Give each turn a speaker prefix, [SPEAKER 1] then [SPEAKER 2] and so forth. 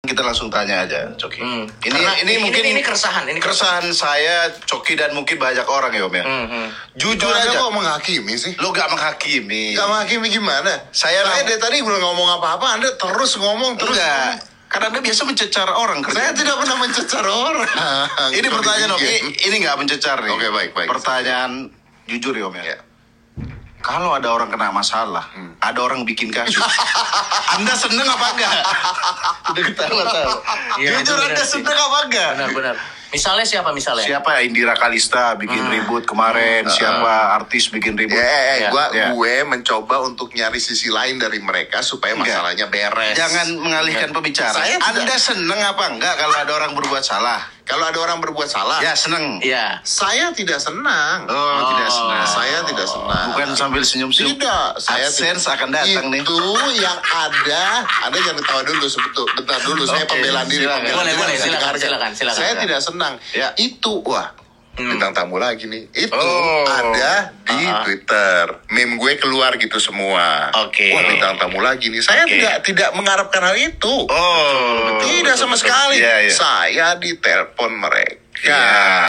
[SPEAKER 1] kita langsung tanya aja, Coki.
[SPEAKER 2] Hmm.
[SPEAKER 1] Ini,
[SPEAKER 2] Karena
[SPEAKER 1] ini
[SPEAKER 2] ini-
[SPEAKER 1] mungkin
[SPEAKER 2] ini- ini keresahan, ini
[SPEAKER 1] keresahan saya, Coki dan mungkin banyak orang ya Om ya.
[SPEAKER 2] Hmm, hmm.
[SPEAKER 1] Jujur
[SPEAKER 3] Jujur aja
[SPEAKER 1] aja,
[SPEAKER 3] kok menghakimi sih.
[SPEAKER 1] lo gak menghakimi.
[SPEAKER 3] Gak menghakimi gimana?
[SPEAKER 1] Saya
[SPEAKER 3] saya
[SPEAKER 1] ngomong-
[SPEAKER 3] dari tadi belum ngomong apa-apa, Anda terus ngomong terus.
[SPEAKER 1] Enggak.
[SPEAKER 3] ngomong.
[SPEAKER 1] Karena anda biasa mencecar orang. kerja.
[SPEAKER 3] Saya tidak pernah mencecar orang.
[SPEAKER 1] Ini
[SPEAKER 3] Kok
[SPEAKER 1] pertanyaan Om,
[SPEAKER 3] demikian?
[SPEAKER 1] I- ini nggak mencecar nih.
[SPEAKER 3] Oke, baik, baik.
[SPEAKER 1] Pertanyaan jujur ya Om ya.
[SPEAKER 3] Ya. Hmm.
[SPEAKER 1] Kalau ada orang kena masalah, ada orang bikin kasus. anda seneng apa enggak? Udah ketawa-tawa.
[SPEAKER 2] Iya,
[SPEAKER 1] jujur
[SPEAKER 2] benar
[SPEAKER 1] Anda
[SPEAKER 2] sih.
[SPEAKER 1] seneng apa enggak?
[SPEAKER 2] Benar-benar. Misalnya siapa misalnya?
[SPEAKER 1] Siapa ya? Indira Kalista bikin ribut kemarin? Siapa artis bikin ribut?
[SPEAKER 3] Hmm. Ya, ya, ya,
[SPEAKER 2] Ya,
[SPEAKER 3] gua
[SPEAKER 1] ya.
[SPEAKER 3] gue mencoba untuk nyari sisi lain dari mereka supaya
[SPEAKER 1] Enggak.
[SPEAKER 3] masalahnya beres.
[SPEAKER 1] Jangan mengalihkan pembicaraan.
[SPEAKER 3] Saya tidak-
[SPEAKER 1] Anda seneng apa enggak kalau ada orang berbuat salah?
[SPEAKER 3] kalau ada orang berbuat salah,
[SPEAKER 1] Ya seneng.
[SPEAKER 2] Iya.
[SPEAKER 3] saya tidak senang.
[SPEAKER 1] Oh, tidak senang.
[SPEAKER 3] Saya tidak senang.
[SPEAKER 1] Bukan sambil senyum-senyum.
[SPEAKER 3] tidak, saya
[SPEAKER 1] Adsense
[SPEAKER 3] tidak-
[SPEAKER 1] akan datang nih.
[SPEAKER 3] Itu yang ada, Anda jangan ketawa dulu sebentar, bentar dulu. saya
[SPEAKER 1] Oke,
[SPEAKER 3] pembelaan diri,
[SPEAKER 1] silakan.
[SPEAKER 3] pembelaan
[SPEAKER 2] Boleh,
[SPEAKER 3] diri
[SPEAKER 2] boleh, silakan,
[SPEAKER 3] harus didengarkan.
[SPEAKER 2] silakan, silakan.
[SPEAKER 3] Saya tidak senang.
[SPEAKER 1] Ya. Hmm.
[SPEAKER 3] Itu wah. Bintang tamu lagi nih. Itu
[SPEAKER 1] Oh.
[SPEAKER 3] ada di
[SPEAKER 2] Ah.
[SPEAKER 3] Twitter. Meme gue keluar gitu semua.
[SPEAKER 1] Oke.
[SPEAKER 3] Wah, bintang tamu lagi nih. Saya
[SPEAKER 1] Oke.
[SPEAKER 3] tidak tidak mengharapkan hal itu.
[SPEAKER 1] Oh.
[SPEAKER 3] tidak sama sekali.
[SPEAKER 1] Iya, iya. Ya.
[SPEAKER 3] Saya ditelepon mereka.